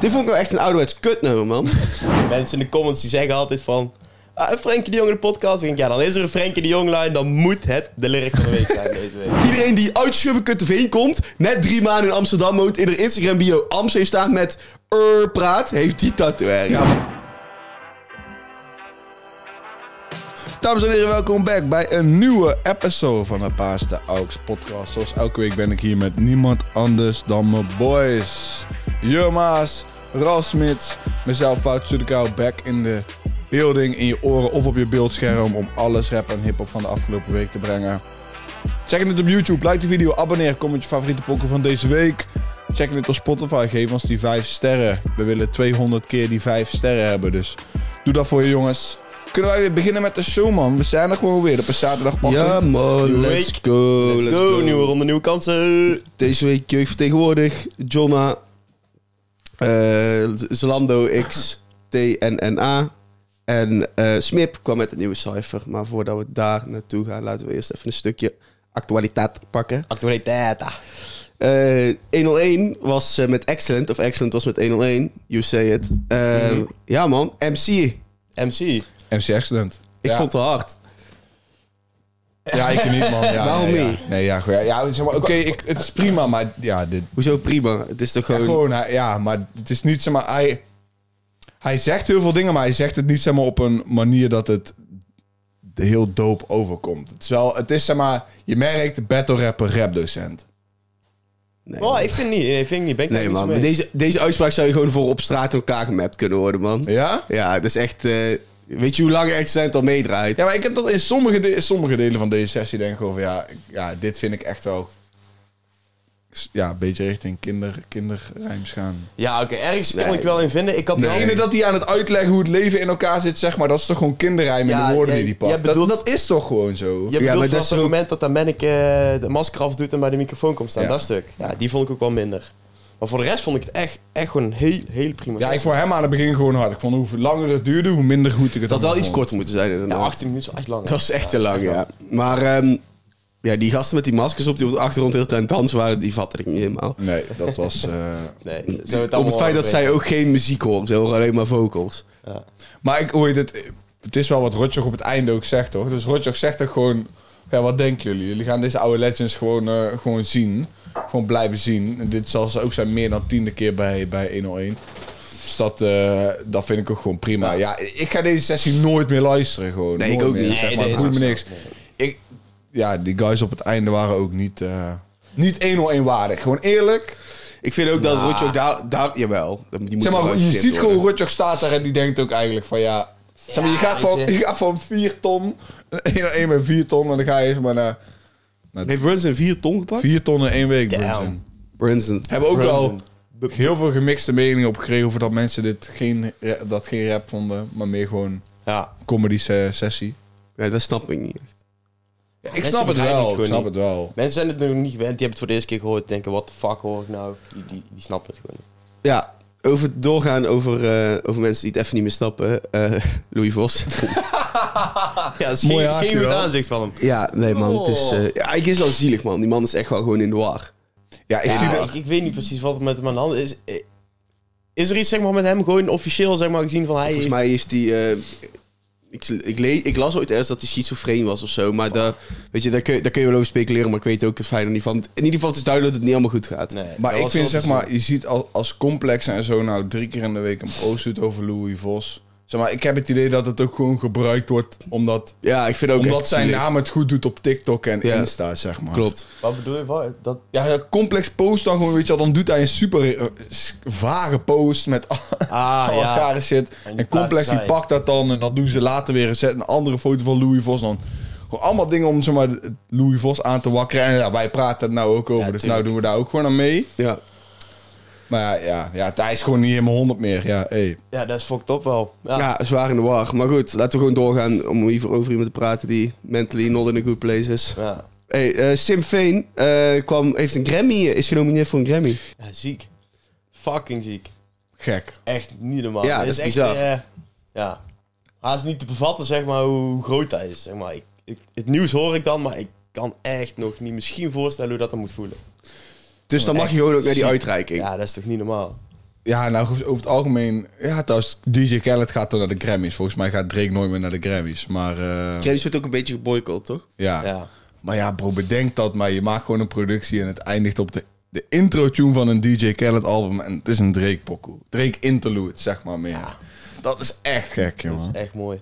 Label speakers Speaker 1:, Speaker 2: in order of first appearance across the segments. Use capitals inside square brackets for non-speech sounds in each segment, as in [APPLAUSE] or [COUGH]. Speaker 1: Dit vond ik nou echt een ouderwets kutnummer, man. [LAUGHS] Mensen in de comments die zeggen altijd van... Ah, een Frenkie de Jong in de podcast. Ik denk, ja, dan is er een Frenkie de Jong line. Dan moet het de lyric van de week zijn deze week. [LAUGHS] Iedereen die uit Schubbekutteveen komt, net drie maanden in Amsterdam woont, in haar Instagram bio Amst heeft staan met er praat, heeft die tatoeage.
Speaker 2: Dames en heren, welkom back bij een nieuwe episode van de Paasta Auks podcast. Zoals elke week ben ik hier met niemand anders dan mijn boys. Jumma's, Ralf Smits, mezelf Fout Sudekou, back in de building, in je oren of op je beeldscherm om alles rap en hiphop van de afgelopen week te brengen. Check het op YouTube, like de video, abonneer, comment je favoriete pokken van deze week. Check het op Spotify, geef ons die 5 sterren. We willen 200 keer die 5 sterren hebben, dus doe dat voor je jongens. Kunnen wij weer beginnen met de show, man? We zijn er gewoon weer op een zaterdagochtend.
Speaker 3: Ja man, let's go.
Speaker 1: Let's go, nieuwe ronde, nieuwe kansen.
Speaker 3: Deze week jeugd vertegenwoordig. Jonna, eh, Zalando X, TNNA. En eh, Smip kwam met een nieuwe cijfer. Maar voordat we daar naartoe gaan, laten we eerst even een stukje actualiteit pakken.
Speaker 1: Actualiteit. ah.
Speaker 3: Eh, 101 was eh, met Excellent, of Excellent was met 101. You say it. Eh,
Speaker 1: Mhm.
Speaker 3: Ja man, MC. Ik
Speaker 1: MC.
Speaker 2: MC Excellent. Ja.
Speaker 3: vond het hard.
Speaker 2: Ja, ik niet, man.
Speaker 3: [LAUGHS]
Speaker 2: Ja,
Speaker 3: Waarom
Speaker 2: nee, ja.
Speaker 3: niet?
Speaker 2: Nee, ja, gewoon- ja, zeg maar, oké, ik- het is prima, maar ja, dit,
Speaker 3: Hoezo prima? Het is toch
Speaker 2: ja,
Speaker 3: gewoon...
Speaker 2: gewoon,
Speaker 1: eh,
Speaker 2: hij- ja, maar het is niet, zeg maar, hij, hij zegt heel veel dingen, maar hij zegt het niet, zeg maar, op een manier dat het heel dope overkomt. Het is wel, het is, zeg maar, je merkt, battle rapper, rapdocent.
Speaker 3: Nee,
Speaker 1: Oh, ik vind niet. Nee, vind ik niet. Ben ik
Speaker 3: nee
Speaker 1: daar
Speaker 3: man,
Speaker 1: niet
Speaker 3: maar
Speaker 1: zo mee.
Speaker 3: deze, deze uitspraak zou je gewoon voor op straat in elkaar gemapt kunnen worden man.
Speaker 2: Ja?
Speaker 3: Ja, dat is echt. eh, weet je hoe lang Accent al meedraait?
Speaker 2: Ja, maar ik heb dat in sommige, de- in sommige delen van deze sessie denk ik over, ja, ik- ja, dit vind ik echt wel, ja, een beetje richting kinder, kinderrijms gaan.
Speaker 1: Ja, oké. Ergens kon
Speaker 3: Nee.
Speaker 1: ik wel in vinden. Ik had
Speaker 2: De
Speaker 1: wel...
Speaker 2: ene dat hij aan het uitleggen hoe het leven in elkaar zit, zeg maar, dat is toch gewoon kinderrijm in
Speaker 1: Ja,
Speaker 2: de woorden
Speaker 1: jij-
Speaker 2: die hij pakt.
Speaker 1: jij bedoelt-
Speaker 2: dat, dat is toch gewoon zo?
Speaker 1: Je
Speaker 3: Ja,
Speaker 1: bedoelt
Speaker 3: maar
Speaker 1: vanaf
Speaker 3: dat
Speaker 1: het
Speaker 3: is ook-
Speaker 1: moment dat dat manneke de masker afdoet en bij de microfoon komt staan.
Speaker 2: Ja.
Speaker 1: Dat stuk. Ja, die vond ik ook wel minder. Maar voor de rest vond ik het echt, echt gewoon een heel, heel
Speaker 2: Ja,
Speaker 1: prima.
Speaker 2: ik
Speaker 1: sessie.
Speaker 2: vond hem aan het begin gewoon hard. Ik vond hoe langer het duurde, hoe minder goed ik het
Speaker 3: Dat had wel iets
Speaker 2: korter.
Speaker 3: korter moeten zijn. Inderdaad.
Speaker 1: ja, 18 minuten is echt lang.
Speaker 3: dat is echt te lang, ja. Maar ehm, ja, die gasten met die maskers op die op de achtergrond heel tijd aan het dansen waren, die vatte ik niet helemaal.
Speaker 2: Nee, dat was... eh,
Speaker 1: Nee,
Speaker 3: Mm, Om het feit dat zij ook geen muziek hoort, ze horen alleen maar vocals.
Speaker 2: Maar ik, hoe heet het? Het is wel wat Rotjoch op het einde ook zegt, toch? Dus Rotjoch zegt toch gewoon... Ja, wat denken jullie? Jullie gaan deze oude Legends gewoon, eh, gewoon zien. Gewoon blijven zien. En dit zal ze ook zijn meer dan tiende keer bij, bij 101. Dus dat, eh, dat vind ik ook gewoon prima. Ja, ik ga deze sessie nooit meer luisteren. Gewoon.
Speaker 3: Nee, ik
Speaker 2: Nooit
Speaker 3: ook
Speaker 2: meer,
Speaker 3: niet.
Speaker 2: Zeg
Speaker 1: Nee,
Speaker 2: maar,
Speaker 1: nee,
Speaker 2: het boeit me
Speaker 1: dat is
Speaker 2: niks. Ik, ja, die guys op het einde waren ook niet, eh, niet 101 waardig. Gewoon eerlijk.
Speaker 3: Ik vind ook dat Rotjoch daar, daar, jawel, die moet
Speaker 2: Zeg
Speaker 3: eruit
Speaker 2: maar, je
Speaker 3: geknipt
Speaker 2: ziet gewoon
Speaker 3: worden.
Speaker 2: Rutger staat daar en die denkt ook eigenlijk van ja. Zeg maar, je, gaat van, je gaat van 4 ton, 1 met 4 ton en dan ga je even maar naar
Speaker 3: Heeft Brunson vier ton gepakt?
Speaker 2: 4 ton in één week.
Speaker 1: Damn.
Speaker 2: Brunson.
Speaker 3: Brunson.
Speaker 2: Hebben ook wel
Speaker 1: Brunson.
Speaker 2: heel veel gemixte meningen opgekregen over dat mensen dit geen, ra- dat geen rap vonden, maar meer gewoon
Speaker 1: Ja,
Speaker 2: comedy se- sessie.
Speaker 3: Ja, dat snap ik niet. echt.
Speaker 2: Ja, ik
Speaker 1: mensen
Speaker 2: snap het
Speaker 1: begrijpen
Speaker 2: wel,
Speaker 1: het gewoon
Speaker 2: ik snap
Speaker 1: niet.
Speaker 2: het wel.
Speaker 1: mensen zijn het nog niet gewend. Die hebben het voor de eerste keer gehoord. Die denken, what the fuck hoor ik nou? Die, die, die snappen het gewoon niet.
Speaker 3: Ja, over doorgaan over, eh, over mensen die het even niet meer snappen. eh, [LAUGHS] Louis Vos.
Speaker 1: Ja, dat is
Speaker 2: Mooi
Speaker 1: geen,
Speaker 2: haakje
Speaker 1: geen goed
Speaker 2: wel.
Speaker 1: aanzicht van hem.
Speaker 3: Ja, nee man, het is...
Speaker 1: Oh.
Speaker 3: eh, ja, eigenlijk is het wel zielig man. Die man is echt wel gewoon in de war.
Speaker 2: Ja, ik zie
Speaker 1: Ja,
Speaker 2: dat.
Speaker 1: ik, ik weet niet precies wat er met hem aan de hand is. Eh, Is er iets zeg maar, met hem gewoon officieel zeg maar, gezien van hij
Speaker 3: Volgens
Speaker 1: is-
Speaker 3: mij is die... eh, ik, ik, le- ik las ooit ergens dat hij schizofreen was of zo. Maar daar, weet je, daar, kun, je- daar kun je wel over speculeren. Maar ik weet ook het fijn niet van. In ieder geval het is duidelijk dat het niet allemaal goed gaat.
Speaker 1: Nee,
Speaker 2: Maar
Speaker 1: dat
Speaker 2: ik
Speaker 1: was
Speaker 2: vind,
Speaker 1: wel
Speaker 2: zeg maar, je ziet al, als complex en zo nou drie keer in de week een post doet over Louis Vos. Zeg maar, ik heb het idee dat het ook gewoon gebruikt wordt omdat,
Speaker 3: Ja, ik vind ook
Speaker 2: omdat
Speaker 3: echt
Speaker 2: zijn
Speaker 3: zielig.
Speaker 2: naam het goed doet op TikTok en
Speaker 3: Ja.
Speaker 2: Insta, zeg maar.
Speaker 3: Klopt.
Speaker 1: Wat bedoel je? Wat? Dat...
Speaker 2: Ja, dat complex post dan gewoon, weet je wel, dan doet hij een super eh, s- vage post met [LAUGHS] al
Speaker 1: Ah,
Speaker 2: al
Speaker 1: ja.
Speaker 2: elkaar shit.
Speaker 1: die
Speaker 2: En, complex die
Speaker 1: plaatst hij.
Speaker 2: pakt dat dan en dan doen ze later weer een, set, een andere foto van Louis Vos dan. Gewoon allemaal dingen om, zeg maar, Louis Vos aan te wakkeren. En ja, wij praten er nou ook over,
Speaker 1: Ja,
Speaker 2: dus nou
Speaker 1: tuurlijk.
Speaker 2: doen we daar ook gewoon aan mee.
Speaker 3: Ja.
Speaker 2: Maar ja, ja, ja, hij is gewoon niet helemaal 100 meer. Ja, hey.
Speaker 1: Ja, dat is fucked up wel. Ja.
Speaker 3: ja, zwaar in de war. Maar goed, laten we gewoon doorgaan om hier over iemand te praten die mentally not in a good place is.
Speaker 1: Ja.
Speaker 3: Hey, eh, Sim Veen eh, kwam, heeft een Grammy, eh, is genomineerd voor een Grammy.
Speaker 1: Ja, ziek. Fucking ziek.
Speaker 2: Gek.
Speaker 1: Echt niet normaal.
Speaker 3: Ja,
Speaker 1: Dit
Speaker 3: dat is
Speaker 1: echt,
Speaker 3: bizar.
Speaker 1: eh, ja. Haast niet te bevatten, zeg maar, hoe groot hij is. Zeg maar. ik, ik, het nieuws hoor ik dan, maar ik kan echt nog niet misschien voorstellen hoe dat dan moet voelen.
Speaker 3: Dus dan mag je gewoon ook naar die uitreiking.
Speaker 1: Ja, dat is toch niet normaal?
Speaker 2: Ja, nou over het algemeen. Ja, trouwens, DJ Khaled gaat dan naar de Grammys. Volgens mij gaat Drake nooit meer naar de Grammys. Maar eh,
Speaker 3: Grammys wordt ook een beetje geboycott, toch?
Speaker 2: ja.
Speaker 1: Ja.
Speaker 2: Maar ja, bro, bedenk dat. Maar je maakt gewoon een productie en het eindigt op de, de intro-tune van een DJ Khaled album. En het is een Drake pokoe. Drake interlude, zeg maar meer. Dat is echt gek, jongen.
Speaker 1: Echt mooi.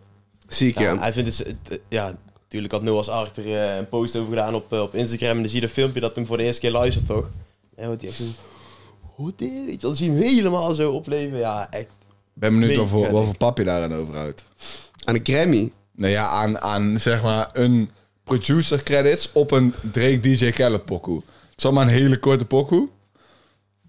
Speaker 3: Zie ik,
Speaker 1: Ja, Hij vindt het, het- ja, natuurlijk had Noah's Ark er eh, een post over gedaan op, eh, op Instagram. En dan zie je dat filmpje dat hem voor de eerste keer luistert, toch? En wat die echt zo... Hoe dit? Weet je, dan zie je hem helemaal zo opleven. Ja, echt.
Speaker 2: Ben benieuwd
Speaker 1: Mega
Speaker 2: wat voor, wat
Speaker 1: gek.
Speaker 2: voor pap je daaraan overhoudt.
Speaker 3: Aan de Grammy.
Speaker 2: Nou ja, aan, aan zeg maar een producer credits op een Drake DJ Khaled pokoe. Het is allemaal een hele korte pokoe.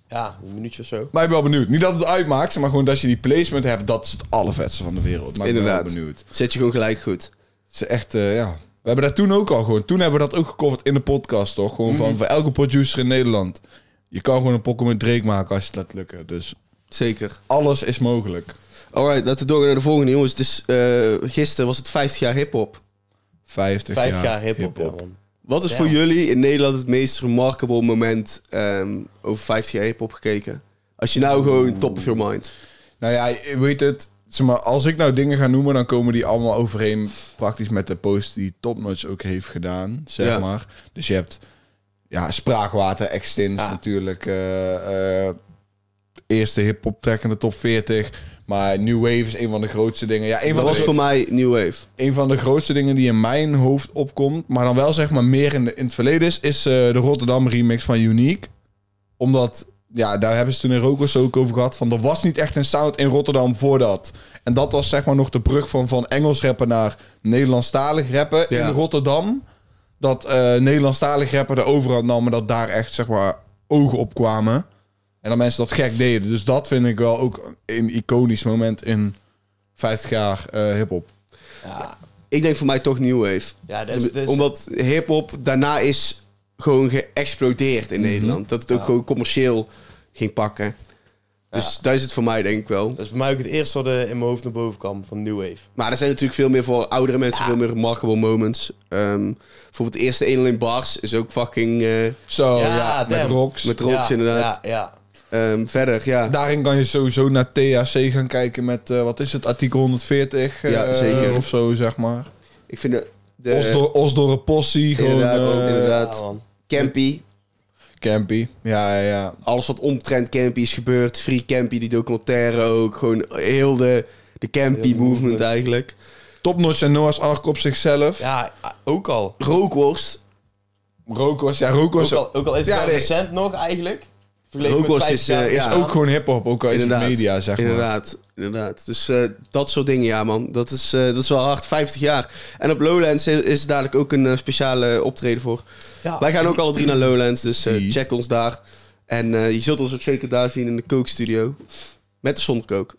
Speaker 1: Ja, een minuutje of zo.
Speaker 2: Maar ik ben wel benieuwd. Niet dat het uitmaakt, maar gewoon dat je die placement hebt, dat is het allervetste van de wereld. Maar ik
Speaker 3: Inderdaad.
Speaker 2: ben wel benieuwd.
Speaker 3: Zet je gewoon gelijk goed.
Speaker 2: Het is echt, eh, ja. We hebben dat toen ook al gewoon. Toen hebben we dat ook gecoverd in de podcast, toch? Gewoon
Speaker 1: Mhm.
Speaker 2: van voor elke producer in Nederland. Je kan gewoon een pokoe met Drake maken als je het laat lukken. Dus
Speaker 3: Zeker.
Speaker 2: alles is mogelijk.
Speaker 3: Alright, laten we doorgaan naar de volgende, jongens. Het is, eh, gisteren was het 50 jaar hip-hop.
Speaker 2: 50,
Speaker 1: Vijf
Speaker 2: jaar,
Speaker 1: jaar hip-hop,
Speaker 2: hiphop.
Speaker 1: ja, man.
Speaker 3: Wat is
Speaker 1: Ja.
Speaker 3: voor jullie in Nederland het meest remarkable moment ehm, over 50 jaar hip-hop gekeken? Als je nou gewoon top of your mind.
Speaker 2: Nou ja, je weet het. Zeg maar, als ik nou dingen ga noemen, dan komen die allemaal overeen praktisch met de post die Topnotch ook heeft gedaan, zeg
Speaker 3: Ja.
Speaker 2: maar. Dus je hebt ja, Spraakwater, Extins
Speaker 1: Ja.
Speaker 2: natuurlijk. eh, eh, eerste hip-hop track in de top 40. Maar New Wave is een van de grootste dingen. Ja, een
Speaker 3: Dat
Speaker 2: van
Speaker 3: was
Speaker 2: de,
Speaker 3: voor mij New Wave.
Speaker 2: een van de grootste dingen die in mijn hoofd opkomt, maar dan wel zeg maar meer in, de, in het verleden is, is eh, de Rotterdam remix van Unique. Omdat, ja, daar hebben ze toen in Rokos ook over gehad, van er was niet echt een sound in Rotterdam voordat. En dat was zeg maar nog de brug van, van Engels rappen naar Nederlandstalig rappen
Speaker 3: Ja.
Speaker 2: in Rotterdam. Dat eh Nederlandstalig rappen de overhand nam, maar dat daar echt zeg maar ogen op kwamen. En dat mensen dat gek deden. Dus dat vind ik wel ook een iconisch moment in 50 jaar eh hip-hop.
Speaker 1: Ja,
Speaker 3: Ik denk voor mij toch New Wave.
Speaker 1: ja dat is... dat is-
Speaker 3: Omdat hip-hop daarna is gewoon geëxplodeerd
Speaker 1: Mhm.
Speaker 3: in Nederland. Dat het ook gewoon commercieel ging pakken. Dus daar is het voor mij denk ik wel.
Speaker 1: dat is bij mij ook het eerste wat eh, in mijn hoofd naar boven kwam, van New Wave.
Speaker 3: Maar er zijn natuurlijk veel meer voor oudere mensen, veel meer remarkable moments. Ehm, bijvoorbeeld de eerste 1 alleen bars is ook fucking... eh,
Speaker 2: Zo, ja,
Speaker 1: Ja,
Speaker 2: met
Speaker 1: damn.
Speaker 2: Rox.
Speaker 3: Met Rox, inderdaad.
Speaker 1: Ja, ja.
Speaker 3: ehm, verder, ja.
Speaker 2: Daarin kan je sowieso naar THC gaan kijken met, eh, wat is het, artikel 140 eh,
Speaker 3: Ja, zeker.
Speaker 2: of zo, zeg maar.
Speaker 3: Ik vind de... de
Speaker 2: Os door, Os door een possie, gewoon
Speaker 3: Inderdaad,
Speaker 2: eh,
Speaker 3: inderdaad.
Speaker 1: Ja, man.
Speaker 3: Campy,
Speaker 2: campy. Ja, ja, ja.
Speaker 3: alles wat omtrent Campy is gebeurd. Free Campy, die documentaire ook. Gewoon heel de, de
Speaker 1: Heel de
Speaker 3: Campy movement
Speaker 1: movement.
Speaker 3: eigenlijk.
Speaker 2: Topnotch en Noah's Ark op zichzelf.
Speaker 1: Ja, eh, ook al.
Speaker 3: Rookworst.
Speaker 2: Rook was, ja, Rook was
Speaker 1: Ook
Speaker 2: ook,
Speaker 1: al, ook al is het
Speaker 2: Ja,
Speaker 1: wel
Speaker 2: nee.
Speaker 1: recent nog, eigenlijk. Vergeleken
Speaker 3: Rook
Speaker 1: met
Speaker 3: was
Speaker 1: vijf
Speaker 3: is,
Speaker 1: jaar
Speaker 3: eh, ja.
Speaker 1: is ook
Speaker 2: gewoon hip-hop, ook al is het
Speaker 3: Inderdaad.
Speaker 2: media, zeg maar.
Speaker 3: Inderdaad, inderdaad. Dus eh, dat soort dingen, ja man. Dat is, eh, dat is wel hard, 50 jaar. En op Lowlands is, is er dadelijk ook een eh, speciale optreden voor.
Speaker 1: Ja.
Speaker 3: Wij gaan ook alle drie naar Lowlands, dus eh,
Speaker 2: Zie.
Speaker 3: check ons daar. En eh, je zult ons ook zeker daar zien in de kookstudio. Met de zonnekook.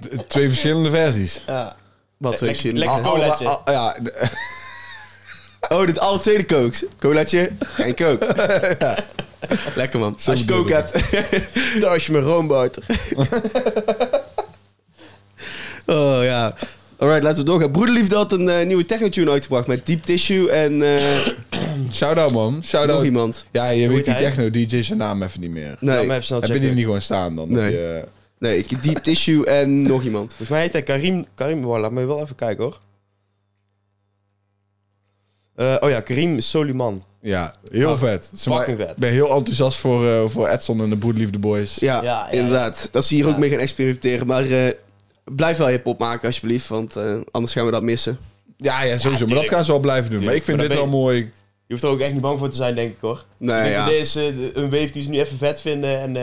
Speaker 2: T- Twee verschillende versies.
Speaker 1: Ja.
Speaker 3: Wat
Speaker 1: Lek-
Speaker 3: weet je?
Speaker 1: lekker-
Speaker 3: Ah,
Speaker 1: Colaatje.
Speaker 2: Ah, ah, ja, [LAUGHS] d-
Speaker 3: Oh, dit alle tweede kooks. Colaatje en kook. Lekker man. Als je
Speaker 2: bedoel
Speaker 3: kook
Speaker 2: ik
Speaker 3: hebt, thuis je met roomboter. [LAUGHS] oh ja. Alright, laten we doorgaan. Broederliefde had een eh, nieuwe techno-tune uitgebracht met Deep Tissue en eh,
Speaker 2: shout-out, man.
Speaker 3: nog
Speaker 2: Shout-out.
Speaker 3: iemand.
Speaker 2: Ja, je weet die
Speaker 1: hij?
Speaker 2: techno-dj zijn naam even niet meer.
Speaker 1: Laat me
Speaker 3: Nee,
Speaker 1: even snel
Speaker 2: Heb je die
Speaker 1: checken.
Speaker 2: niet gewoon staan dan?
Speaker 3: Nee.
Speaker 2: Die, eh,
Speaker 3: nee ik- Deep Tissue en nog iemand.
Speaker 1: Volgens mij heet hij Karim... Karim, wow, laat me wel even kijken, hoor. Eh, oh ja, Karim Soliman.
Speaker 2: Ja, heel
Speaker 1: Wacht,
Speaker 2: vet. Ze ma-
Speaker 1: fucking vet.
Speaker 2: Ik ben heel enthousiast voor, eh, voor Edson en de Broedliefde Boys.
Speaker 3: Ja,
Speaker 1: Ja, ja,
Speaker 3: inderdaad. Dat ze hier ook
Speaker 1: Ja.
Speaker 3: mee gaan experimenteren. Maar eh, blijf wel hip-hop maken alsjeblieft, want eh, anders gaan we dat missen.
Speaker 2: Ja, ja, sowieso. maar dat
Speaker 1: tuurlijk.
Speaker 2: gaan ze wel blijven doen. Maar ik
Speaker 1: Tuurlijk,
Speaker 2: vind
Speaker 1: maar
Speaker 2: dit
Speaker 1: dan
Speaker 2: wel mooi.
Speaker 1: Je hoeft er ook echt niet bang voor te zijn, denk ik hoor.
Speaker 3: Nee,
Speaker 1: Ik denk
Speaker 3: ja.
Speaker 1: dat Dit is eh, de- een wave die ze nu even vet vinden. En eh,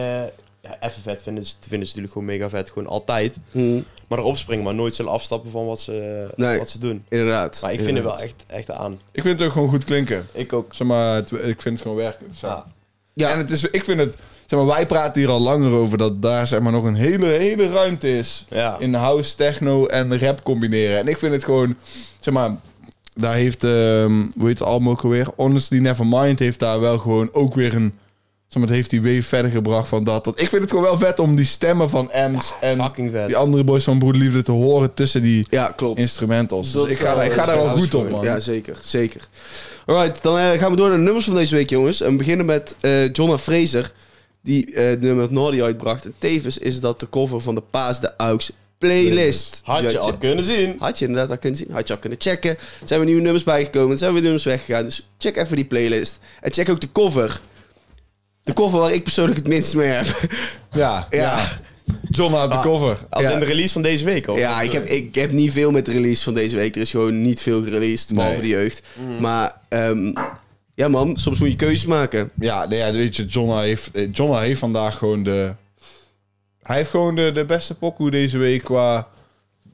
Speaker 1: ja, even vet vinden ze, vinden ze natuurlijk gewoon mega vet. Gewoon altijd.
Speaker 3: Hm,
Speaker 1: Maar erop springen, maar nooit zullen afstappen van wat ze, eh,
Speaker 3: Nee.
Speaker 1: wat ze doen.
Speaker 3: inderdaad.
Speaker 1: Maar ik vind het wel echt, echt aan.
Speaker 2: Ik vind het ook gewoon goed klinken.
Speaker 1: Ik ook.
Speaker 2: Zeg maar, het- ik vind het gewoon werken. Zo.
Speaker 1: Ja.
Speaker 3: Ja.
Speaker 2: En het is, ik vind het... Zeg maar, wij praten hier al langer over dat daar zeg maar, nog een hele, hele ruimte is.
Speaker 1: Ja.
Speaker 2: In house, techno en rap combineren. En ik vind het gewoon... Zeg maar, daar heeft... ehm hoe heet het album ook alweer? Honestly Nevermind heeft daar wel gewoon ook weer een... Zeg maar, het heeft die wave verder gebracht van dat. Want ik vind het gewoon wel vet om die stemmen van Ems en
Speaker 1: Fucking vet.
Speaker 2: die andere boys van Broederliefde te horen tussen die
Speaker 3: ja, klopt.
Speaker 2: instrumentals. Dus
Speaker 1: Dat
Speaker 2: ik ga, daar- ik ga daar wel goed op, man.
Speaker 3: Ja, zeker. Zeker. Alright, dan eh, gaan we door naar de nummers van deze week, jongens. En we beginnen met eh Jonna Fraser. die eh, het nummer Nordi uitbracht. En tevens is dat de cover van de Paas de Aux playlist. Die
Speaker 1: Had je al kunnen zien.
Speaker 3: Had je inderdaad al kunnen zien, had je al kunnen checken. Er zijn we nieuwe nummers bijgekomen, er zijn weer nummers weggegaan. Dus check even die playlist. En check ook de cover. De cover waar ik persoonlijk het minst mee heb. [LAUGHS]
Speaker 2: Ja,
Speaker 3: Ja,
Speaker 2: ja. John had de cover.
Speaker 1: Als
Speaker 3: Ja.
Speaker 1: in de release van deze week al.
Speaker 3: ja ik, heb,
Speaker 1: eh,
Speaker 3: ik heb niet veel met de release van deze week. Er is gewoon niet veel gereleased, behalve
Speaker 2: Nee.
Speaker 3: de jeugd.
Speaker 1: Mm.
Speaker 3: Maar ehm, ja man, soms moet je keuzes maken.
Speaker 2: Ja, nee, ja, weet je, Jonna heeft, eh, Jonna heeft vandaag gewoon de... Hij heeft gewoon de, de beste pokoe deze week qua...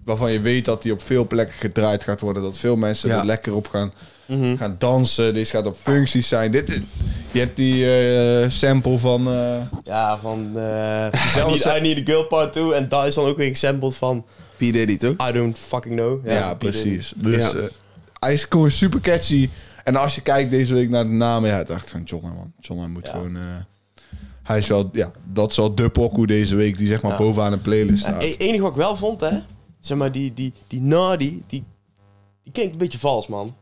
Speaker 2: Waarvan je weet dat hij op veel plekken gedraaid gaat worden. Dat veel mensen
Speaker 3: Ja.
Speaker 2: er lekker op gaan, gaan dansen. Deze gaat op functies zijn. Dit, is- je hebt die eh, sample van... eh,
Speaker 1: Ja, van
Speaker 3: [LAUGHS]
Speaker 1: eh, I,
Speaker 2: Zelfs-
Speaker 1: need, I Need a Girl Part 2. En daar is dan ook weer gesampled van
Speaker 3: P. Diddy toch?
Speaker 1: I Don't Fucking Know.
Speaker 2: ja,
Speaker 1: die
Speaker 2: precies. Dus
Speaker 3: Ja.
Speaker 2: eh, hij is gewoon super catchy. En als je kijkt deze week naar de namen... Ja, ik dacht van Jonna, man. Jonna moet
Speaker 1: Ja.
Speaker 2: gewoon... eh, hij is wel... Ja, dat is wel de pokoe deze week die zeg maar bovenaan de playlist
Speaker 1: ding.
Speaker 2: staat.
Speaker 1: E- enige wat ik wel vond, hè. Zeg maar, die, die, die Nardi, die, die klinkt een beetje vals, man.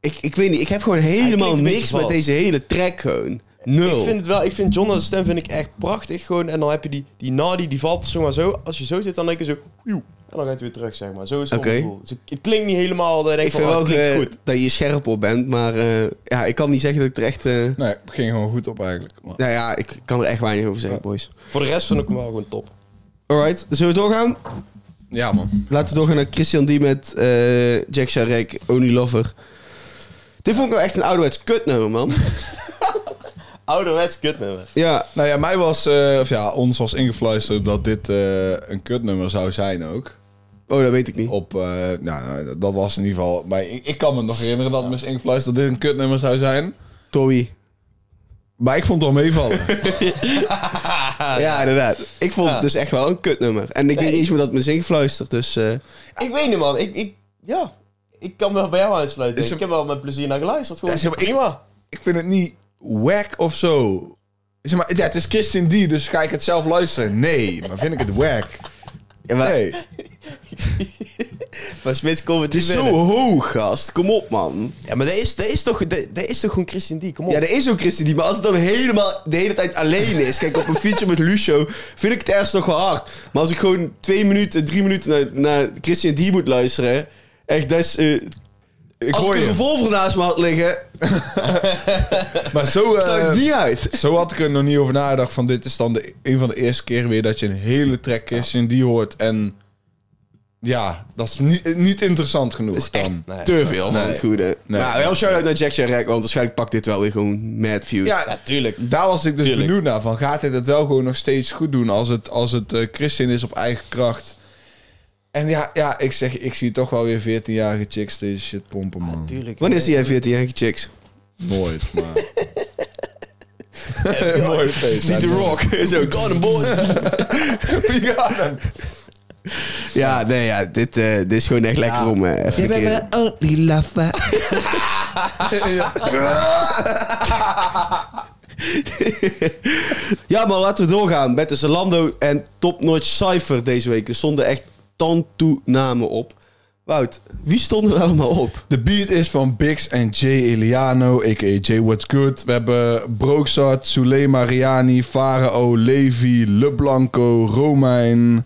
Speaker 3: Ik, ik weet niet, ik heb gewoon helemaal
Speaker 1: klinkt een
Speaker 3: niks
Speaker 1: beetje
Speaker 3: met
Speaker 1: vals.
Speaker 3: deze hele track gewoon. Nul.
Speaker 1: Ik vind het wel, ik vind John's stem vind ik echt prachtig gewoon. En dan heb je die, die Nardi, die valt zeg maar zo. Als je zo zit, dan denk je zo, joe. En dan gaat hij weer terug, zeg maar. Zo is het
Speaker 3: Oké.
Speaker 1: mijn gevoel. Dus het- het klinkt niet helemaal, dat je denkt
Speaker 3: Ik vind
Speaker 1: van, oh,
Speaker 3: wel eh,
Speaker 1: het klinkt goed.
Speaker 3: dat je scherp op bent, maar eh, ja, ik kan niet zeggen dat ik er echt... eh,
Speaker 2: Nee, het ging gewoon goed op eigenlijk. Maar...
Speaker 3: nou ja, ik kan er echt weinig over zeggen, boys.
Speaker 1: Voor de rest vond ik hem wel gewoon top.
Speaker 3: Alright, zullen we doorgaan?
Speaker 2: Ja, man.
Speaker 3: Laten we doorgaan naar Christian D met eh, Jack Sharek, Only Lover. Dit vond ik nou echt een ouderwets kutnummer, man.
Speaker 1: Ouderwets kutnummer.
Speaker 3: ja,
Speaker 2: Nou ja, mij was, eh, of ja, ons was ingefluisterd dat dit eh, een kutnummer zou zijn ook.
Speaker 3: oh, dat weet ik niet.
Speaker 2: Op, eh, nou, dat was in ieder geval. Maar ik, ik kan me nog herinneren dat me is ingefluisterd dat dit een kutnummer zou zijn.
Speaker 3: Toby.
Speaker 2: Maar ik vond het wel meevallen. [LAUGHS]
Speaker 1: Ah,
Speaker 3: ja, inderdaad. Ik vond het dus echt wel een kutnummer. En ik weet niet eens meer dat het me is ingefluisterd, dus... eh,
Speaker 1: Ik weet niet, man. Ik, ik, ja. Ik kan wel bij jou aansluiten.
Speaker 2: Is hem-
Speaker 1: Ik heb wel met plezier naar geluisterd. Gewoon
Speaker 2: Ja, zeg maar, ik-
Speaker 1: prima.
Speaker 2: ik vind het niet wack of zo. Zeg maar, ja, het is Christian D, dus ga ik het zelf luisteren? Nee, maar vind ik het wack?
Speaker 3: ja, maar-
Speaker 2: Nee.
Speaker 1: Maar Smits komt het
Speaker 3: Het is zo hoog, gast. Kom op, man.
Speaker 1: Ja, maar dat is, dat is, toch, dat, dat is toch gewoon Christian D, kom op.
Speaker 3: Ja, dat is ook Christian die. Maar als het dan helemaal de hele tijd alleen is. Kijk, op een feature met Lucio vind ik het ergens nog wel hard. Maar als ik gewoon twee minuten, drie minuten naar, naar Christian die moet luisteren. Echt, dat is... eh,
Speaker 2: Ik
Speaker 3: als ik
Speaker 2: hoor
Speaker 3: een
Speaker 2: je.
Speaker 3: revolver naast me had liggen,
Speaker 2: Maar zo...
Speaker 3: zou
Speaker 2: eh,
Speaker 3: ik het niet uit.
Speaker 2: Zo had ik er nog niet over nagedacht van dit is dan de, een van de eerste keren weer dat je een hele track is en die hoort en ja, dat is niet, niet interessant genoeg
Speaker 3: Dat is echt
Speaker 2: dan.
Speaker 3: te veel van het goede.
Speaker 2: Nee.
Speaker 3: Nou, wel shout-out naar Jack Sharek, want waarschijnlijk pakt dit wel weer gewoon mad views.
Speaker 2: Ja,
Speaker 1: Ja, tuurlijk.
Speaker 2: Dus daar was ik dus
Speaker 1: Tuurlijk.
Speaker 2: benieuwd naar van gaat hij dat wel gewoon nog steeds goed doen als het, als het eh, Christian is op eigen kracht. En ja, ja, ik zeg, ik zie toch wel weer 14-jarige chicks deze shit pompen,
Speaker 3: Ah,
Speaker 2: man.
Speaker 1: Tuurlijk.
Speaker 3: Wanneer zie jij 14 Yankee Chicks?
Speaker 2: Nooit, maar...
Speaker 3: [LAUGHS]
Speaker 2: [LAUGHS] Mooi feest.
Speaker 3: Niet The Rock. Zo, Gordon [LAUGHS] Boys. Ja, nee, ja, dit, eh, dit is gewoon echt lekker om eh, even een keer...
Speaker 4: only lover.
Speaker 3: Ja, maar laten we doorgaan met de Zalando en Top Notch Cypher deze week. Er stonden echt tantoe-namen op. Wout, wie stond er allemaal op?
Speaker 2: De beat is van Bix en Jay Eliano, a.k.a. Jay What's Good. We hebben Broksat, Soule Mariani, Farao, Levi, LeBlanco, Romein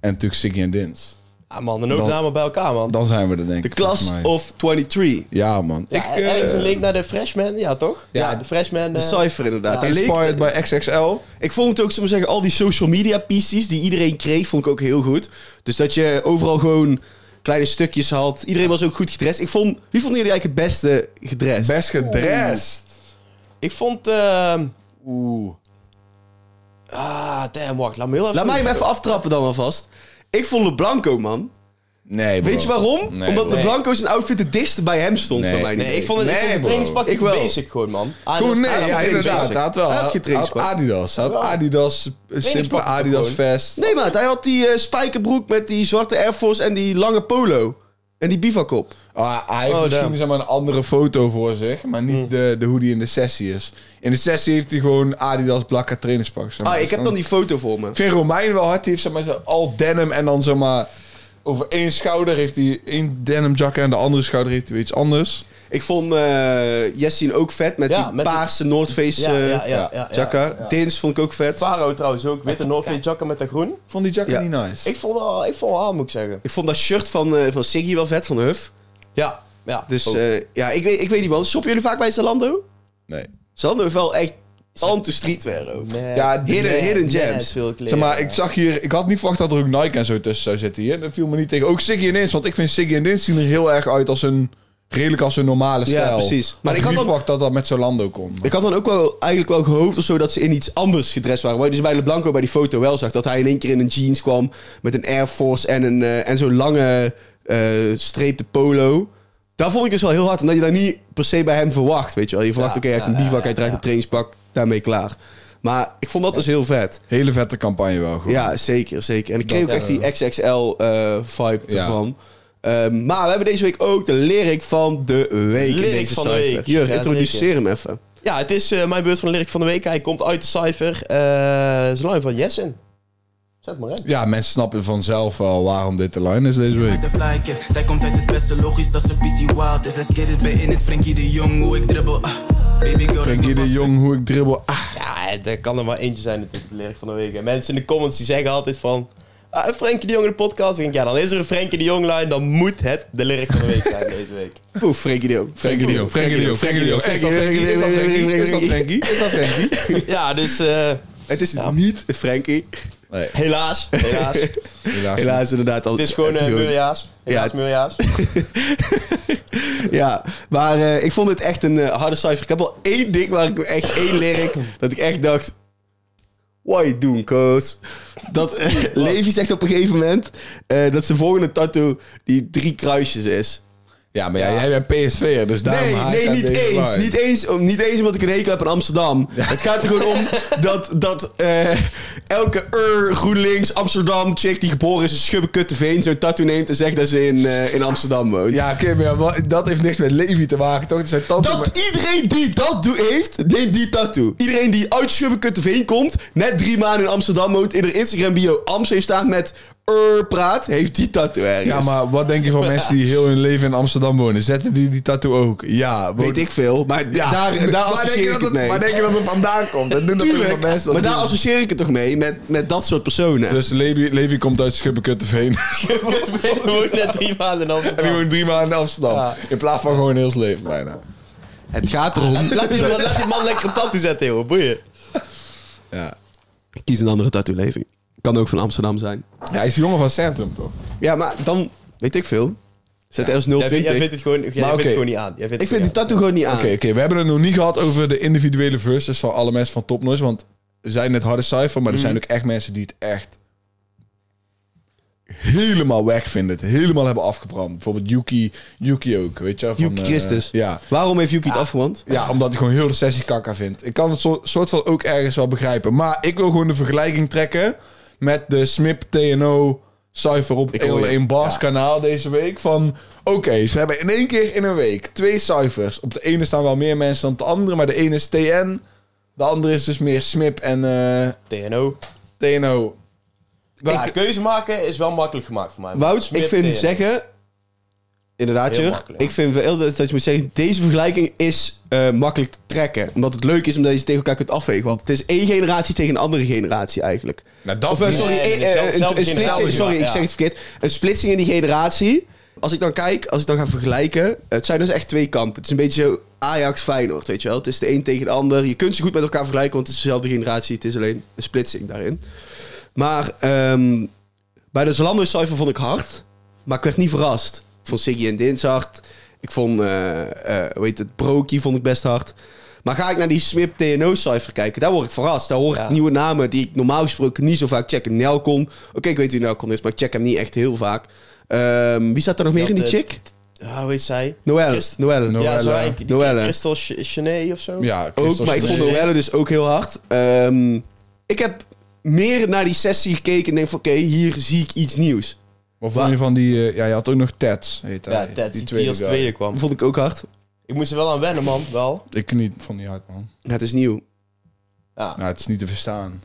Speaker 2: en natuurlijk Siggy en Dins.
Speaker 1: Ja, man, een hoop
Speaker 2: Dan-
Speaker 1: namen bij elkaar, man.
Speaker 2: Dan zijn we er denk
Speaker 3: De
Speaker 2: ik.
Speaker 3: Class
Speaker 2: volgens mij.
Speaker 3: of 23.
Speaker 2: Ja man.
Speaker 1: Ja,
Speaker 2: ik, eh,
Speaker 1: er is een link naar de Freshman, ja toch?
Speaker 2: Ja.
Speaker 1: de Freshman.
Speaker 3: De
Speaker 1: eh,
Speaker 3: Cypher inderdaad. Die leek-
Speaker 2: Inspired by XXL.
Speaker 3: ik vond het ook, zullen we zeggen, al die social media pieces die iedereen kreeg, vond ik ook heel goed. Dus dat je overal gewoon kleine stukjes had. Iedereen was ook goed gedrest. Ik vond, wie vonden jullie eigenlijk het beste gedrest?
Speaker 2: Best gedrest.
Speaker 1: ik vond... ehm
Speaker 2: Oeh.
Speaker 1: ah, damn, wacht. Laat me heel even...
Speaker 3: Laat mij hem even aftrappen dan alvast. Ik vond LeBlanco, man.
Speaker 2: Nee bro.
Speaker 3: Weet je waarom?
Speaker 2: Nee,
Speaker 3: Omdat
Speaker 2: bro.
Speaker 3: LeBlanco zijn outfit het dichtst bij hem stond
Speaker 2: Nee.
Speaker 3: van mij.
Speaker 1: Nee, ik vond het,
Speaker 2: Nee,
Speaker 1: ik vond het
Speaker 2: bro.
Speaker 1: trainingspakje
Speaker 3: Ik wel.
Speaker 1: basic gewoon, man. Ah, dat
Speaker 2: Goed,
Speaker 1: is-
Speaker 2: nee,
Speaker 1: ah, dat is
Speaker 2: ja,
Speaker 1: trainingspak.
Speaker 2: inderdaad. Hij had wel
Speaker 3: Hij had
Speaker 2: hij had,
Speaker 3: getrainingspak.
Speaker 2: Adidas. Hij had Adidas, een simpele
Speaker 1: Trainingspak
Speaker 2: Adidas
Speaker 1: gewoon.
Speaker 2: vest.
Speaker 3: Nee, maat, hij had die eh, spijkerbroek met die zwarte Air Force en die lange polo. En die bivakop.
Speaker 2: Ah, hij heeft
Speaker 1: Oh,
Speaker 2: misschien
Speaker 1: damn.
Speaker 2: zeg maar, een andere foto voor zich, maar
Speaker 3: Hmm.
Speaker 2: niet de, de hoe die in de sessie is. In de sessie heeft hij gewoon Adidas Blakka trainingspak. zeg maar.
Speaker 3: Ah, ik heb dan die foto voor me.
Speaker 2: Ik vind Romein wel hard. Die heeft zeg maar, zo al denim en dan zeg maar... Over één schouder heeft hij één denim jacket en de andere schouder heeft hij weer iets anders.
Speaker 3: Ik vond eh Jessien ook vet met
Speaker 1: Ja,
Speaker 3: die
Speaker 1: met die-
Speaker 3: paarse Noordface
Speaker 1: Ja, ja, ja,
Speaker 3: eh,
Speaker 1: ja, ja.
Speaker 3: jacka. Dins vond ik ook vet.
Speaker 1: Faro trouwens ook, witte Northface jacka met dat groen.
Speaker 2: Vond die jacket
Speaker 3: Ja.
Speaker 2: niet nice?
Speaker 1: Ik vond wel, ik vond wel aan, moet ik zeggen.
Speaker 3: Ik vond dat shirt van, eh van Siggy wel vet, van Huff.
Speaker 1: Ja, ja.
Speaker 3: Dus
Speaker 1: Ook.
Speaker 3: eh, ja, ik weet, ik weet niet man. Shoppen jullie vaak bij Zalando?
Speaker 2: Nee.
Speaker 3: Zalando heeft wel echt anti-streetwear ook.
Speaker 1: Mad,
Speaker 2: Ja, hidden-
Speaker 1: mad,
Speaker 3: hidden
Speaker 1: mad
Speaker 3: gems.
Speaker 1: veel kleren.
Speaker 2: Zeg maar, ik zag hier, ik had niet verwacht dat er ook Nike en zo tussen zou zitten hier. Dat viel me niet tegen. Ook Siggy en Dins, want ik vind Siggy en Dins zien er heel erg uit als een, redelijk als een normale
Speaker 3: Ja,
Speaker 2: stijl.
Speaker 3: precies. Maar
Speaker 2: Maar
Speaker 3: ik had
Speaker 2: ik had niet
Speaker 3: dan-
Speaker 2: verwacht dat dat met Zalando kon.
Speaker 3: Ik had dan ook wel eigenlijk wel gehoopt of zo dat ze in iets anders gedrest waren. Waar je dus bij LeBlanco bij die foto wel zag. Dat hij in één keer in een jeans kwam met een Air Force en, een, eh, en zo'n lange eh streepte polo. Daar vond ik dus wel heel hard. Omdat je dat niet per se bij hem verwacht. Weet je wel. Je verwacht,
Speaker 1: Ja,
Speaker 3: oké, hij heeft
Speaker 1: ja,
Speaker 3: een bivak,
Speaker 1: ja,
Speaker 3: hij draagt een trainingspak. Daarmee klaar. Maar ik vond dat dus heel vet.
Speaker 2: Hele vette campagne wel. Goed.
Speaker 3: Ja, zeker, zeker. En ik kreeg ook
Speaker 2: Dat,
Speaker 3: echt die XXL-vibe
Speaker 2: Ja.
Speaker 3: eh, ervan. Ehm, maar we hebben deze week ook de lyric van de week. in
Speaker 1: Lyric
Speaker 3: deze
Speaker 1: van de
Speaker 3: cijfer.
Speaker 1: week.
Speaker 3: Jurgen,
Speaker 1: Ja,
Speaker 3: introduceer
Speaker 1: zeker.
Speaker 3: hem even.
Speaker 1: Ja, het is eh, mijn beurt van de lyric van de week. Hij komt uit de cijfer. eh Zolang van Jessen. Zet maar in.
Speaker 2: Ja, mensen snappen vanzelf wel waarom dit de line is deze week.
Speaker 4: Uit de flyke, zij komt uit het westen, logisch dat ze PC wild is. Let's get it bij in het Frankie de Jong, hoe ik dribbel. ah. Baby girl,
Speaker 2: Frankie de Jong, hoe ik dribbel. Ah,
Speaker 1: Ja, er kan er maar eentje zijn natuurlijk, de lyric van de week. En mensen in de comments die zeggen altijd van... Ah, een Frenkie de Jong in de podcast. Ik denk, ja, dan is er een Frenkie de Jong line. Dan moet het de lyric van de week zijn deze week.
Speaker 3: Poeh, Frenkie de Jong.
Speaker 2: Frankie de Jong, Frankie de Jong, Frankie de Jong. Is dat Frankie? Is dat Frankie? Is dat Frankie? Is dat Frankie?
Speaker 1: [LAUGHS]
Speaker 3: [LAUGHS]
Speaker 1: Ja, dus eh,
Speaker 3: Het is niet Frankie.
Speaker 2: Nee,
Speaker 1: helaas. Helaas. het
Speaker 2: helaas. niet.
Speaker 3: Helaas inderdaad. Al
Speaker 1: is [LAUGHS] gewoon eh Murjaas. Helaas
Speaker 3: Ja.
Speaker 1: [LAUGHS] Murjaas.
Speaker 3: Ja, maar eh, ik vond het echt een eh, harde cijfer. Ik heb al één ding waar ik echt één lyric... dat ik echt dacht... Why you doing, cuz? Dat eh, Levi zegt op een gegeven moment... eh, dat zijn volgende tattoo die drie kruisjes is.
Speaker 2: Ja, maar ja, jij bent PSV'er, dus daarom
Speaker 3: Nee,
Speaker 2: haat
Speaker 3: nee,
Speaker 2: jij
Speaker 3: niet
Speaker 2: deze
Speaker 3: eens,
Speaker 2: line.
Speaker 3: niet eens. om- Niet eens omdat ik een hekel heb aan Amsterdam. Het gaat er gewoon om dat, dat eh, elke Ur, GroenLinks, Amsterdam chick die geboren is in Schubbekutteveen zo'n tattoo neemt en zegt dat ze in, eh, in Amsterdam woont.
Speaker 2: Ja, oké, maar ja, wa- dat heeft niks met Levi te maken, toch? Het zijn tante...
Speaker 3: Dat iedereen die dat doe- heeft, neemt die tattoo. Iedereen die uit Schubbekutteveen komt, net drie maanden in Amsterdam woont, in haar Instagram bio Amst heeft staan met Ur praat, heeft die tattoo ergens.
Speaker 2: Ja, maar wat denk je
Speaker 3: [LAUGHS]
Speaker 2: van mensen die heel hun leven in Amsterdam wonen? Zetten die die tattoo ook? Ja.
Speaker 3: Weet ik veel, maar daar,
Speaker 2: Ja.
Speaker 3: daar
Speaker 2: [LAUGHS] maar, denk
Speaker 3: associeer
Speaker 2: je
Speaker 3: ik
Speaker 2: dat
Speaker 3: het mee.
Speaker 2: maar denk je dat het vandaan komt? En doen natuurlijk
Speaker 3: Tuurlijk,
Speaker 2: van mensen dat
Speaker 3: maar daar
Speaker 2: doen.
Speaker 3: associeer ik het toch mee, met, met dat soort personen.
Speaker 2: Dus Levi, Levi komt uit Schubbekutteveen.
Speaker 1: Ik woon net drie maanden in
Speaker 2: en die
Speaker 1: Amsterdam.
Speaker 2: woont drie maanden in Amsterdam.
Speaker 1: Ja.
Speaker 2: In plaats van gewoon heel zijn leven bijna.
Speaker 3: het gaat erom...
Speaker 1: Laat die, laat die man lekker een tattoo zetten, joh. Boeien.
Speaker 2: Ja.
Speaker 3: Kies een andere tattoo-leving. Kan ook van Amsterdam zijn.
Speaker 2: Ja, hij is een jongen van Centrum, toch?
Speaker 3: Ja, maar dan weet ik veel. Zet ergens
Speaker 1: Jij, vindt-
Speaker 3: 020.
Speaker 1: jij vindt het gewoon, jij vindt
Speaker 2: oké.
Speaker 1: het gewoon niet aan. Jij vindt
Speaker 3: ik
Speaker 1: het
Speaker 3: vind die
Speaker 1: gewoon
Speaker 3: tattoo gewoon niet aan.
Speaker 2: Oké, oké, we hebben het nog niet gehad over de individuele verses van alle mensen van Top Noise. Want we zijn het harde cijfer, maar er
Speaker 3: Mhm.
Speaker 2: zijn ook echt mensen die het echt helemaal weg vinden. Het helemaal hebben afgebrand. Bijvoorbeeld Yuki, Yuki ook, weet je? wel, Van,
Speaker 3: Yuki dus.
Speaker 2: eh,
Speaker 3: Christus.
Speaker 2: ja.
Speaker 3: Waarom heeft Yuki
Speaker 1: Ah.
Speaker 3: het afgewand?
Speaker 2: Ja, omdat ik gewoon heel de sessie kakka vind. Ik kan het zo- soort van ook ergens wel begrijpen. Maar ik wil gewoon de vergelijking trekken met de SMIP TNO cijfer op
Speaker 3: hoor je.
Speaker 2: 101 Bars kanaal deze week. Van, oké, ze hebben in één keer in een week twee cijfers. Op de ene staan wel meer mensen dan op de andere, maar de ene is TN. De andere is dus meer SMIP en eh,
Speaker 1: niet aan. TNO.
Speaker 2: TNO.
Speaker 1: Ja,
Speaker 2: Ik-
Speaker 1: keuze maken is wel makkelijk gemaakt voor mij.
Speaker 3: Wout, ik vind
Speaker 1: Smit, eh,
Speaker 3: zeggen... Inderdaad,
Speaker 1: Heel
Speaker 3: Jur.
Speaker 1: makkelijk.
Speaker 3: Ik vind wel dat dat je moet zeggen... Deze vergelijking is eh, makkelijk te trekken. Omdat het leuk is omdat je ze tegen elkaar kunt afwegen. Want het is één generatie tegen een andere generatie eigenlijk.
Speaker 2: Nou, dat
Speaker 3: Of, eh,
Speaker 2: niet.
Speaker 3: sorry,
Speaker 1: Nee,
Speaker 3: eh,
Speaker 1: nee,
Speaker 3: eh,
Speaker 1: zelf-
Speaker 3: een-
Speaker 1: zelfde
Speaker 3: een splitsing,
Speaker 1: generatie,
Speaker 3: sorry,
Speaker 1: ja.
Speaker 3: ik zeg het verkeerd. Een splitsing in die generatie. Als ik dan kijk, als ik dan ga vergelijken, het zijn dus echt twee kampen. Het is een beetje zo Ajax Feyenoord, weet je wel. Het is de een tegen de ander. Je kunt ze goed met elkaar vergelijken, want het is dezelfde generatie. Het is alleen een splitsing daarin. Maar ehm, bij de Zalando cijfer vond ik hard, maar ik werd niet verrast. Ik vond Siggy en Dins hard. Ik vond, eh, eh, hoe heet het, Broky vond ik best hard. Maar ga ik naar die Smip TNO-cijfer kijken, daar word ik verrast. Daar hoor ik
Speaker 1: Ja.
Speaker 3: nieuwe namen die ik normaal gesproken niet zo vaak check. Nelcon, oké, ik weet wie Nelcon is, maar ik check hem niet echt heel vaak. Ehm, wie zat er nog meer in die
Speaker 1: eh,
Speaker 3: chick?
Speaker 1: Ja, hoe heet zij?
Speaker 3: Noelle.
Speaker 1: Christ-
Speaker 3: Noelle.
Speaker 2: Noelle.
Speaker 1: Ja, zo eigenlijk die
Speaker 3: Noelle.
Speaker 1: Crystal Ch- Chenet of zo.
Speaker 2: Ja,
Speaker 3: Ook,
Speaker 2: Christos
Speaker 3: maar ik
Speaker 2: Sneeuw.
Speaker 3: vond Noelle dus ook heel hard. Ehm, ik heb meer naar die sessie gekeken en denk van oké, hier zie ik iets nieuws.
Speaker 2: Wat vond je van die... eh, ja, je had ook nog Tets, heet hij.
Speaker 1: Ja, Ted, die, die als
Speaker 2: guy.
Speaker 1: tweede kwam.
Speaker 3: Dat vond ik ook hard.
Speaker 1: Ik moest er wel aan wennen, man. Wel.
Speaker 2: Ik niet, vond die uit, man.
Speaker 3: Ja, het is nieuw.
Speaker 1: Ja.
Speaker 2: Nou, het is niet te verstaan.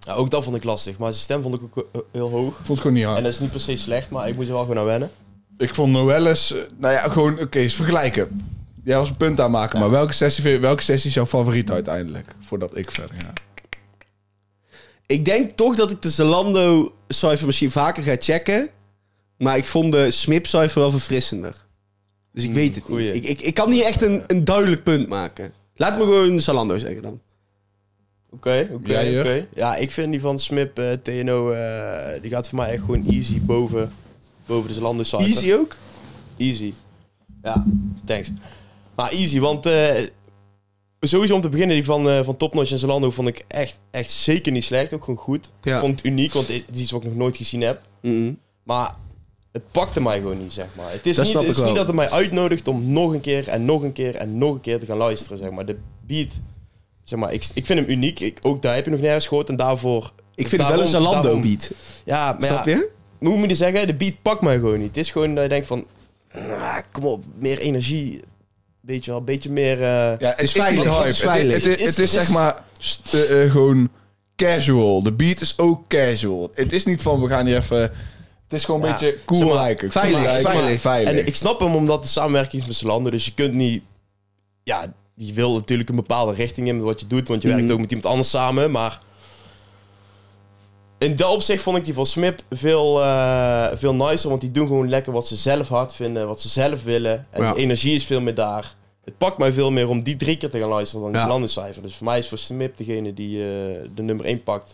Speaker 1: Ja, ook dat vond ik lastig, maar zijn stem vond ik ook eh, heel hoog.
Speaker 2: Ik vond het gewoon niet hard.
Speaker 1: En dat is niet per se slecht, maar ik moest er wel gewoon aan wennen.
Speaker 2: Ik vond Noelles... eh, Nou ja, gewoon... Oké, eens vergelijken. Jij was een punt aan maken, maar welke sessie, vind je- welke sessie is jouw favoriet uiteindelijk? Voordat ik verder ga.
Speaker 3: Ik denk toch dat ik de Zalando cijfer misschien vaker ga checken. Maar ik vond de Smip cijfer wel verfrissender. Dus ik
Speaker 2: Hmm,
Speaker 3: weet het
Speaker 1: goeie.
Speaker 3: niet. Ik, ik, ik kan niet echt een, een duidelijk punt maken. Laat me gewoon Zalando zeggen dan.
Speaker 1: Oké, oké,
Speaker 2: Ja, Jur?
Speaker 1: oké. Ja, ik vind die van Smip eh, TNO, eh, die gaat voor mij echt gewoon easy boven, boven de Zalando site.
Speaker 3: Easy ook?
Speaker 1: Easy. Ja, thanks. Maar easy, want eh, sowieso om te beginnen, die van, eh van Topnotch en Zalando vond ik echt, echt zeker niet slecht. Ook gewoon goed.
Speaker 3: Ja.
Speaker 1: Ik vond het uniek, want het is iets wat ik nog nooit gezien heb.
Speaker 3: Mhm.
Speaker 1: Maar het pakte mij gewoon niet, zeg maar. Het is,
Speaker 3: Dat
Speaker 1: niet,
Speaker 3: snap
Speaker 1: het
Speaker 3: ik
Speaker 1: is
Speaker 3: wel.
Speaker 1: niet dat het mij uitnodigt om nog een keer en nog een keer en nog een keer te gaan luisteren, zeg maar. De beat, zeg maar, ik, ik vind hem uniek. Ik, ook daar heb je nog nergens gehoord en daarvoor...
Speaker 3: Ik vind het wel een Zalando
Speaker 1: daarom-
Speaker 3: beat.
Speaker 1: Ja, maar
Speaker 3: Snap
Speaker 1: ja,
Speaker 3: je?
Speaker 1: hoe moet je zeggen? De beat pakt mij gewoon niet. Het is gewoon dat je denkt van, ah, kom op, meer energie. Weet je wel, een beetje meer... eh,
Speaker 2: Ja, het
Speaker 3: is veilig,
Speaker 2: niet
Speaker 3: het
Speaker 2: hype.
Speaker 3: is veilig.
Speaker 2: Het, het, het, is
Speaker 1: Het is-
Speaker 2: zeg maar st- eh, eh, gewoon casual. De beat is ook casual. Het is niet van we gaan hier even. Het is gewoon een
Speaker 1: Ja,
Speaker 2: beetje cool
Speaker 1: zeg maar,
Speaker 2: lijken.
Speaker 3: veilig,
Speaker 2: Cool lijken,
Speaker 3: veilig.
Speaker 2: veilig.
Speaker 1: En ik snap hem omdat de samenwerking is met Zalando. Dus je kunt niet... Ja, je wil natuurlijk een bepaalde richting in met wat je doet. Want je werkt ook met iemand anders samen. Maar in dat opzicht vond ik die van Smip veel, eh, veel nicer. Want die doen gewoon lekker wat ze zelf hard vinden. Wat ze zelf willen. En
Speaker 3: Ja.
Speaker 1: de energie is veel meer daar. Het pakt mij veel meer om die drie keer te gaan luisteren dan
Speaker 3: Ja.
Speaker 1: ja. cijfer. Dus voor mij is voor Smip degene die eh, de nummer één pakt.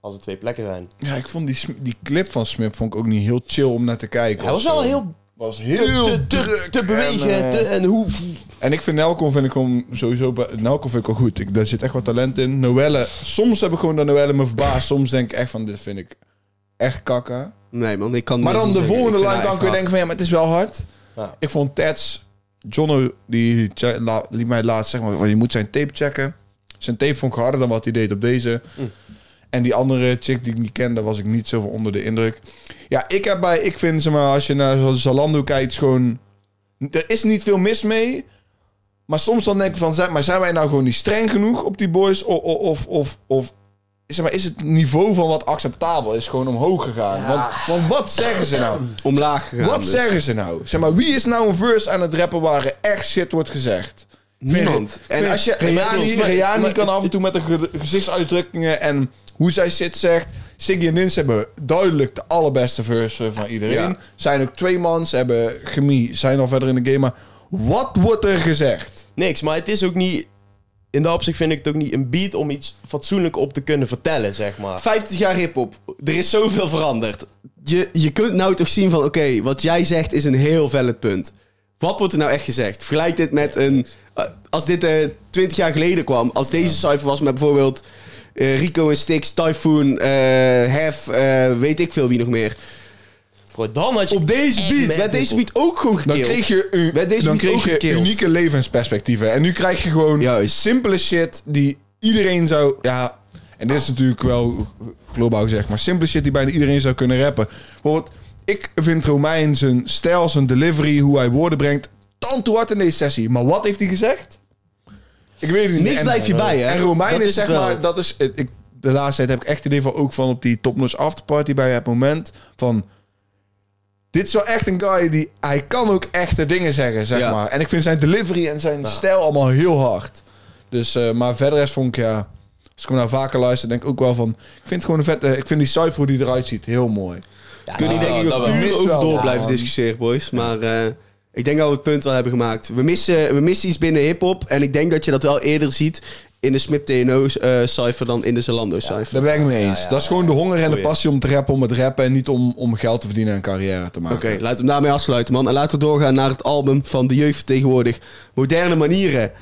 Speaker 1: Als er twee plekken zijn.
Speaker 2: ja, ik vond die, sm- die clip van Smip vond ik ook niet heel chill om naar te kijken.
Speaker 1: Hij
Speaker 2: of
Speaker 1: was
Speaker 2: zo.
Speaker 1: wel heel
Speaker 2: was
Speaker 1: te,
Speaker 2: heel
Speaker 1: te, te,
Speaker 2: druk
Speaker 1: te bewegen.
Speaker 2: En,
Speaker 1: En,
Speaker 2: eh,
Speaker 1: te, en hoe...
Speaker 2: en ik vind Nelcon vind ik hem sowieso. bij- Nelcon vind ik wel goed. Ik, daar zit echt wat talent in. Noelle. Soms heb ik gewoon dat Noelle me verbaast. Soms denk ik echt van dit vind ik echt kakken.
Speaker 3: Nee man, ik kan
Speaker 2: Maar
Speaker 3: niet
Speaker 2: dan de
Speaker 3: zeggen.
Speaker 2: volgende
Speaker 3: Ik vind
Speaker 2: line
Speaker 3: haar
Speaker 2: kan ik weer
Speaker 3: echt
Speaker 2: denken van ja, maar het is wel hard.
Speaker 1: Ja.
Speaker 2: Ik vond Tets, Jono die cha- la- liet mij laatst zeggen, maar, je moet zijn tape checken. Zijn tape vond ik harder dan wat hij deed op deze.
Speaker 3: Hm.
Speaker 2: En die andere chick die ik niet kende, was ik niet zoveel onder de indruk. Ja, ik heb bij, ik vind zeg maar, als je naar zo'n Zalando kijkt, is gewoon, er is niet veel mis mee. Maar soms dan denk ik van, zijn, maar zijn wij nou gewoon niet streng genoeg op die boys? Of, of, of, of zeg maar, is het niveau van wat acceptabel is gewoon omhoog gegaan? Want, want wat zeggen ze nou?
Speaker 3: Omlaag gegaan.
Speaker 2: Wat
Speaker 3: dus.
Speaker 2: zeggen ze nou? Zeg maar, wie is nou een verse aan het rappen waar er echt shit wordt gezegd?
Speaker 3: Niemand.
Speaker 2: En als je Rihanna, Rihanna kan af en toe met de ge- gezichtsuitdrukkingen en hoe zij shit zegt. Siggy en Nins hebben duidelijk de allerbeste verse van iedereen.
Speaker 3: Ja.
Speaker 2: Zijn ook twee man, ze hebben chemie, zijn al verder in de game. Maar wat wordt er gezegd?
Speaker 1: Niks, maar het is ook niet... In dat opzicht vind ik het ook niet een beat om iets fatsoenlijk op te kunnen vertellen, zeg maar.
Speaker 3: 50 jaar hip-hop. Er is zoveel veranderd. Je, je kunt nou toch zien van, oké, wat jij zegt is een heel valid punt. Wat wordt er nou echt gezegd? Vergelijk dit met een. eh, Als dit eh 20 jaar geleden kwam, als deze cijfer was met bijvoorbeeld eh, Rico en Stix, Typhoon, eh Hef, eh, weet ik veel wie nog meer.
Speaker 1: Bro, dan had je...
Speaker 3: Op deze
Speaker 1: echt
Speaker 3: beat
Speaker 1: met
Speaker 3: werd deze
Speaker 1: hip-hop.
Speaker 3: beat ook gewoon
Speaker 2: Dan
Speaker 3: gekild.
Speaker 2: kreeg je, u-
Speaker 3: Werd deze
Speaker 2: dan
Speaker 3: niet
Speaker 2: kreeg
Speaker 3: ook
Speaker 2: je
Speaker 3: gekild?
Speaker 2: unieke levensperspectieven. En nu krijg je gewoon
Speaker 3: Juist.
Speaker 2: simpele shit die iedereen zou... Ja, en dit is natuurlijk wel globaal gezegd, maar simpele shit die bijna iedereen zou kunnen rappen. Bijvoorbeeld, ik vind Romein zijn stijl, zijn delivery, hoe hij woorden brengt... tanto hard in deze sessie. Maar wat heeft hij gezegd? Ik weet het niet.
Speaker 3: Niks
Speaker 2: En-
Speaker 3: blijft je bij, hè?
Speaker 2: En Romein
Speaker 3: Dat
Speaker 2: is,
Speaker 3: is
Speaker 2: zeg
Speaker 3: het wel.
Speaker 2: maar... Dat is, ik, de laatste tijd heb ik echt het idee van... ook van op die topnotch afterparty bij het moment van... Dit is wel echt een guy die... Hij kan ook echte dingen zeggen, zeg
Speaker 3: Ja.
Speaker 2: maar. En ik vind zijn delivery en zijn stijl allemaal heel hard. Dus, eh, maar verder is vond ik, ja... Als ik hem nou vaker luister, denk ik ook wel van... Ik vind het gewoon een vette... Ik vind die cijfer hoe die eruit ziet heel mooi.
Speaker 1: Ja,
Speaker 3: Kunnen
Speaker 1: ja,
Speaker 3: die denk ik
Speaker 1: Ah, dat
Speaker 3: ook
Speaker 1: wel.
Speaker 2: Mist
Speaker 3: uren over
Speaker 2: wel,
Speaker 3: door
Speaker 2: ja,
Speaker 3: blijven
Speaker 2: man.
Speaker 3: discussiëren, boys. Maar eh, ik denk dat we het punt wel hebben gemaakt. We missen, we missen iets binnen hip-hop. En ik denk dat je dat wel eerder ziet in de Smip TNO-cijfer eh, dan in de Zalando-cijfer.
Speaker 2: Daar ben ik het mee eens.
Speaker 1: ja,
Speaker 2: dat is gewoon de honger en de
Speaker 1: Goeie.
Speaker 2: passie om te rappen, om het rappen... en niet om, om geld te verdienen en carrière te maken.
Speaker 3: Oké, laten we hem daarmee afsluiten, man. En laten we doorgaan naar het album van de jeugd tegenwoordig. Moderne manieren.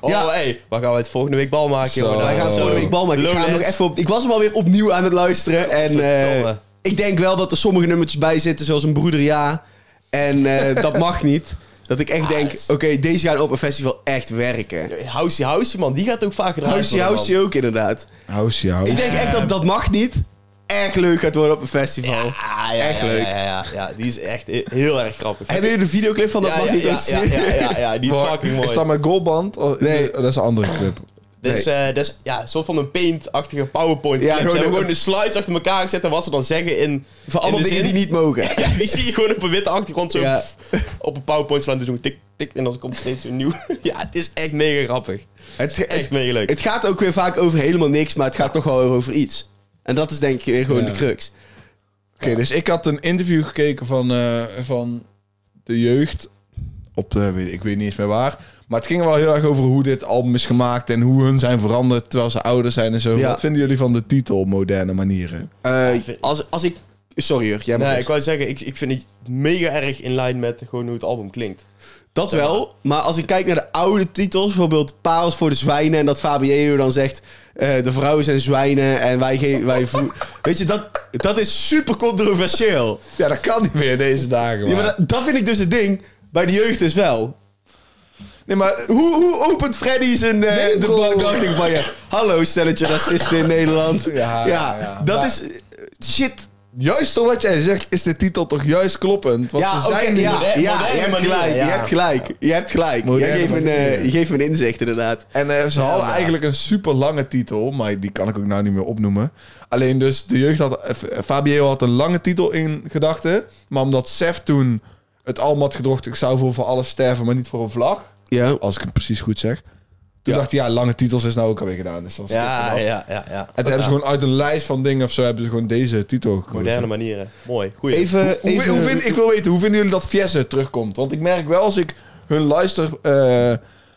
Speaker 1: Oh,
Speaker 3: Ja.
Speaker 1: hey, waar gaan we het volgende week bal maken,
Speaker 2: Zo.
Speaker 1: jongen?
Speaker 3: Wij gaan
Speaker 2: Oh.
Speaker 3: volgende week bal maken. Ik, ga hem nog
Speaker 1: Lowlands.
Speaker 3: even op, ik was hem alweer opnieuw aan het luisteren. En eh,
Speaker 1: Godverdomme.
Speaker 3: ik denk wel dat er sommige nummertjes bij zitten, zoals een broeder ja. En
Speaker 1: [LAUGHS]
Speaker 3: eh, dat mag niet. Dat ik
Speaker 1: Ah,
Speaker 3: echt denk, oké, deze gaan op een festival echt werken.
Speaker 1: Housie Housie, man. Die gaat ook vaak gedraaid
Speaker 3: Housie
Speaker 1: worden,
Speaker 3: Housie ook inderdaad.
Speaker 2: House, jou.
Speaker 3: Ik denk echt dat dat mag niet. Erg leuk gaat worden op een festival.
Speaker 1: man. Ah, ja,
Speaker 3: Echt
Speaker 1: ja,
Speaker 3: leuk.
Speaker 1: Ja, ja, ja, ja. die is echt he- heel erg grappig.
Speaker 3: Hebben jullie de videoclip van dat
Speaker 1: ja,
Speaker 3: mag
Speaker 1: ja,
Speaker 3: niet?
Speaker 1: ja,
Speaker 3: ook
Speaker 1: ja,
Speaker 3: zien?
Speaker 1: ja, ja, ja, die is
Speaker 2: Maar
Speaker 1: fucking mooi.
Speaker 2: Is dat met Goldband? Oh,
Speaker 3: Nee.
Speaker 2: Dat is een andere clip.
Speaker 1: Dat is, eh, dat is ja, een soort van een paint-achtige PowerPoint.
Speaker 3: Ja,
Speaker 1: Ja,
Speaker 3: gewoon
Speaker 1: gewoon,
Speaker 3: een-
Speaker 1: gewoon de slides achter elkaar gezet en wat ze dan zeggen
Speaker 3: [LAUGHS]
Speaker 1: in.
Speaker 3: Van allemaal
Speaker 1: in de
Speaker 3: dingen
Speaker 1: [LAUGHS] zin.
Speaker 3: die niet mogen.
Speaker 1: Ja, die zie je gewoon op een witte achtergrond zo
Speaker 3: Ja.
Speaker 1: pff, op een PowerPoint slaan. Dus doen tik, tik, getikt en dan komt steeds weer nieuw. [LAUGHS] ja, het is echt mega grappig.
Speaker 3: Het,
Speaker 1: Echt
Speaker 3: het,
Speaker 1: mega leuk.
Speaker 3: [LAUGHS] het gaat ook weer vaak over helemaal niks, maar het gaat toch wel weer over iets. En dat is denk ik weer gewoon de
Speaker 2: Ja.
Speaker 3: crux.
Speaker 2: Oké, dus ik had een interview gekeken van, eh, van de jeugd. Op de, weet- ik weet niet eens meer waar. Maar het ging er wel heel erg over hoe dit album is gemaakt en hoe hun zijn veranderd terwijl ze ouder zijn en zo.
Speaker 3: Ja.
Speaker 2: Wat vinden jullie van de titel Moderne Manieren?
Speaker 3: Eh,
Speaker 1: Ja, ik vind-
Speaker 3: als, als ik... Sorry, Jurk, jij mag
Speaker 1: Nee,
Speaker 3: eerst.
Speaker 1: ik wou zeggen, ik, ik vind het mega erg in lijn met gewoon hoe het album klinkt.
Speaker 3: Dat wel, maar als ik kijk naar de oude titels, bijvoorbeeld Parels voor de Zwijnen... en dat Fabio dan zegt, eh, de vrouwen zijn zwijnen en wij... Ge- wij voe- Weet je, dat, dat is super controversieel.
Speaker 2: Ja, dat kan niet meer deze dagen.
Speaker 3: Ja, maar dat, dat vind ik dus het ding, bij de jeugd dus wel.
Speaker 2: nee, maar
Speaker 3: Hoe, hoe opent Freddy zijn eh,
Speaker 2: Nee,
Speaker 3: de
Speaker 2: bro.
Speaker 3: Black Dog ding van je? Hallo, stelletje racisten in Nederland.
Speaker 2: Ja,
Speaker 3: Ja,
Speaker 2: ja,
Speaker 3: dat
Speaker 2: maar-
Speaker 3: is... eh, Shit.
Speaker 2: juist door wat jij zegt is de titel toch juist kloppend. Want
Speaker 3: ja,
Speaker 2: ze
Speaker 3: oké,
Speaker 2: zijn nu
Speaker 3: ja,
Speaker 1: moderne-
Speaker 3: ja,
Speaker 1: moderne
Speaker 3: je hebt
Speaker 1: manieren,
Speaker 3: gelijk, je
Speaker 1: ja.
Speaker 3: hebt gelijk. Je hebt gelijk.
Speaker 2: Moderne
Speaker 3: Jij geeft me een, eh,
Speaker 2: manieren.
Speaker 3: je geeft me een inzicht, inderdaad.
Speaker 2: En eh, ze hadden
Speaker 3: maar-
Speaker 2: eigenlijk een super lange titel, maar die kan ik ook nou niet meer opnoemen. Alleen dus de jeugd had. eh, F- Fabio had een lange titel in gedachten. Maar omdat Sef toen het allemaal had gedocht, ik zou voor, voor alles sterven, maar niet voor een vlag.
Speaker 3: Ja.
Speaker 2: Als ik het precies goed zeg. Toen
Speaker 1: Ja.
Speaker 2: dacht hij, ja, lange titels is nou ook alweer gedaan. Dus dan stikken we dat.
Speaker 1: Ja, ja, ja. ja.
Speaker 2: En toen hebben ze gewoon uit een lijst van dingen of zo hebben ze gewoon deze titel gekozen.
Speaker 1: Moderne manieren. Mooi, goeie.
Speaker 3: Even,
Speaker 2: Hoe-
Speaker 3: even...
Speaker 2: Hoe, vind, ik wil weten, hoe vinden jullie dat Fiesse terugkomt? Want ik merk wel als ik hun luister, eh,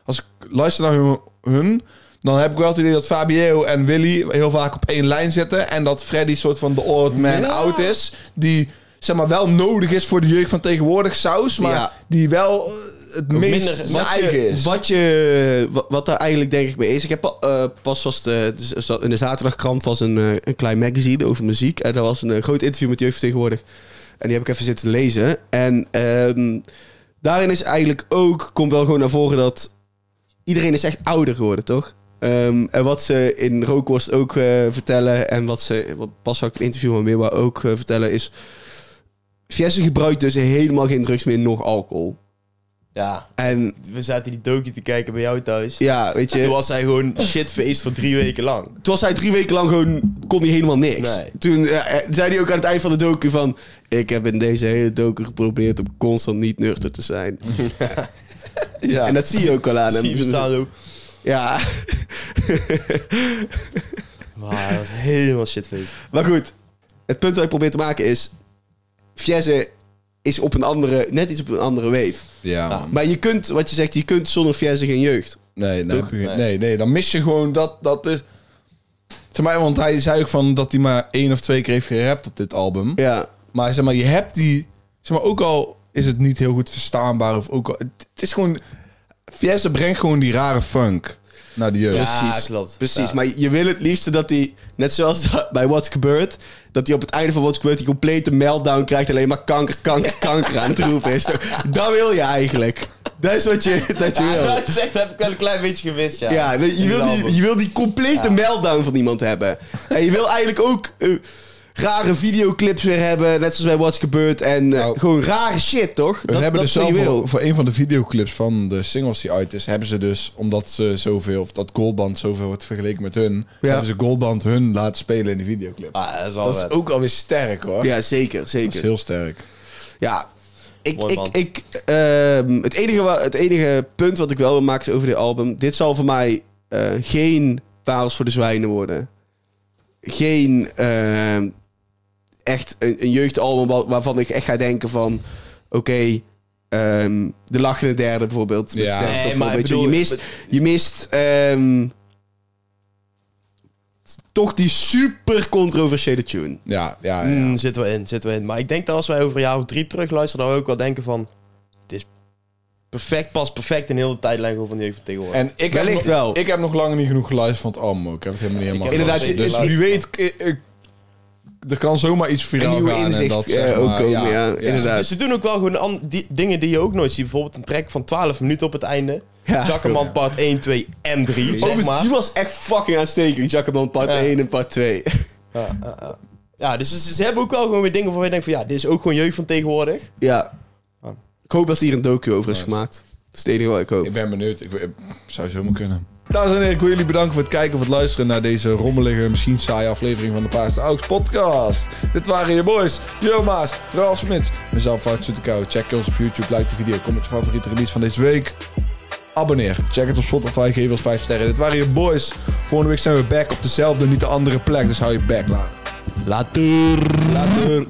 Speaker 2: als ik luister naar hun, hun, dan heb ik wel het idee dat Fabio en Willy heel vaak op één lijn zitten. En dat Freddy soort van de old man out is. Die zeg maar wel nodig is voor de jeugd van tegenwoordig saus, maar
Speaker 3: Ja.
Speaker 2: die wel eh, het
Speaker 1: minder-
Speaker 2: meest zijn
Speaker 1: wat je-
Speaker 2: eigen is.
Speaker 3: Wat, je, wa- wat daar eigenlijk denk ik mee is. Ik heb al, eh, pas was de, dus dat- in de zaterdagkrant was een, eh, een klein magazine over muziek. En daar was een eh, groot interview met jeugd tegenwoordig. En die heb ik even zitten lezen. En ehm, daarin is eigenlijk ook, komt wel gewoon naar voren dat iedereen is echt ouder geworden, toch? Ehm, en wat ze in Rookworst ook eh, vertellen en wat ze, wat pas had ik een interview met Mewa ook eh, vertellen, is Fiesse gebruikt dus helemaal geen drugs meer, nog alcohol.
Speaker 1: Ja,
Speaker 3: En
Speaker 1: we zaten die docu te kijken bij jou thuis.
Speaker 3: ja, weet je...
Speaker 1: Toen was hij gewoon shitfeest voor drie weken lang.
Speaker 3: Toen was hij drie weken lang gewoon, kon hij helemaal niks.
Speaker 1: Nee.
Speaker 3: Toen eh, eh, zei hij ook aan het eind van de docu van... Ik heb in deze hele docu geprobeerd om constant niet nuchter te zijn.
Speaker 2: ja.
Speaker 3: En dat zie je ook wel aan
Speaker 1: [LAUGHS] Zie je
Speaker 3: hem.
Speaker 1: bestaan zo.
Speaker 3: Ja. [LAUGHS]
Speaker 1: Maar dat was helemaal shitfeest.
Speaker 3: maar goed, het punt dat ik probeer te maken is... Fiesse is op een andere, net iets op een andere wave.
Speaker 2: ja, man.
Speaker 3: Maar je kunt, wat je zegt, je kunt zonder Fiesse geen jeugd.
Speaker 2: Nee, nou,
Speaker 1: Toch?
Speaker 2: nee.
Speaker 1: Nee.
Speaker 2: nee, dan mis je gewoon dat. dat is... Zeg maar, want hij zei ook van dat hij maar één of twee keer heeft gerapt op dit album.
Speaker 3: Ja.
Speaker 2: Maar zeg maar, je hebt die... Zeg maar, ook al is het niet heel goed verstaanbaar of ook al... Het, het is gewoon... Fiesta brengt gewoon die rare funk naar de jeugd. Dus
Speaker 1: Ja,
Speaker 3: Precies.
Speaker 1: Ah, klopt.
Speaker 3: Precies,
Speaker 1: Ja.
Speaker 3: maar je wil het liefste dat hij, net zoals dat bij What's Gebeurd, dat hij op het einde van What's Gebeurd die complete meltdown krijgt. Alleen maar kanker, kanker, kanker aan het roepen is. Dat wil je eigenlijk. Dat is wat je, dat je wil.
Speaker 1: dat zegt, heb ik wel een klein beetje gewist, ja.
Speaker 3: Ja, je wil die, je wil die complete meltdown van iemand hebben. En je wil eigenlijk ook eh, rare videoclips weer hebben, net zoals bij What's Gebeurd. En eh,
Speaker 2: Nou,
Speaker 3: gewoon rare shit, toch?
Speaker 2: We hebben
Speaker 3: is
Speaker 2: dus
Speaker 3: wat
Speaker 2: zelf
Speaker 3: je
Speaker 2: voor,
Speaker 3: wil.
Speaker 2: voor een van de videoclips van de singles die uit is, hebben ze dus, omdat ze zoveel, of dat Goldband zoveel wordt vergeleken met hun, hebben ze Goldband hun laten spelen in de videoclip.
Speaker 1: Ah, dat is wel
Speaker 2: dat
Speaker 1: vet.
Speaker 2: is ook alweer sterk hoor.
Speaker 3: Ja, zeker,
Speaker 2: Dat is
Speaker 3: zeker.
Speaker 2: heel sterk.
Speaker 3: Ja. Ik,
Speaker 1: Mooi,
Speaker 3: ik,
Speaker 1: man.
Speaker 3: ik, ehm, het, enige, wa- het enige punt wat ik wel wil maken is over dit album. Dit zal voor mij eh, geen parels voor de zwijnen worden. Geen ehm, echt een, een jeugdalbum wa- waarvan ik echt ga denken van... Oké, ehm, de lachende derde bijvoorbeeld. Met
Speaker 2: Ja.
Speaker 3: ja,
Speaker 1: Nee, maar
Speaker 3: maar
Speaker 1: ik
Speaker 3: je,
Speaker 1: bedoel,
Speaker 3: mist, je mist ehm, toch die super controversiële tune.
Speaker 2: Ja, ja, ja.
Speaker 1: Mm, zitten we in, zitten we in. Maar ik denk dat als wij over een jaar of drie terug luisteren, dan we ook wel denken van... Het is perfect, pas perfect in heel de tijdlijn gewoon van die jeugd van tegenwoordig.
Speaker 2: En ik heb, nog,
Speaker 3: Wellicht wel.
Speaker 2: ik heb nog lang niet genoeg geluisterd van het album. ook. Ik heb het helemaal niet helemaal
Speaker 1: heb
Speaker 2: geluisterd.
Speaker 3: nog
Speaker 2: dus
Speaker 3: steeds
Speaker 2: wie weet, ik- ik- er kan zomaar iets viraal
Speaker 3: Een nieuwe
Speaker 2: gaan.
Speaker 3: inzicht,
Speaker 2: en dat,
Speaker 3: eh,
Speaker 2: zeg
Speaker 3: ook
Speaker 2: maar,
Speaker 3: komen, ja, inderdaad.
Speaker 1: Dus ze doen ook wel gewoon an- die, dingen die je ook nooit ziet. Bijvoorbeeld een track van 12 minuten op het einde.
Speaker 3: Ja.
Speaker 1: Jackerman part 1, 2 en 3, zeg
Speaker 3: Overigens,
Speaker 1: maar.
Speaker 3: die was echt fucking aanstekelijk. Jacobman part
Speaker 1: Ja.
Speaker 3: 1 en part 2.
Speaker 1: Ja, ja, ja. ja, dus ze, ze hebben ook wel gewoon weer dingen waarvan je denkt van... Ja, dit is ook gewoon jeugd van tegenwoordig.
Speaker 3: Ja.
Speaker 1: Ah.
Speaker 3: Ik hoop dat hier een docu over is gemaakt. Dat is het enige wat ik hoop.
Speaker 2: Ik ben benieuwd. Ik, ik- zou zomaar kunnen. Dames en heren, ik wil jullie bedanken voor het kijken of het luisteren naar deze rommelige, misschien saaie aflevering van de Paas de Auks podcast. Dit waren je boys, Joma's, Ralf Smits, mezelf, Fout Zoetekouw. Check ons op YouTube, like de video, kom met je favoriete release van deze week. Abonneer, check het op Spotify, geef ons 5 sterren. Dit waren je boys. Volgende week zijn we back op dezelfde, niet de andere plek, dus hou je back later.
Speaker 1: Later.
Speaker 2: Later.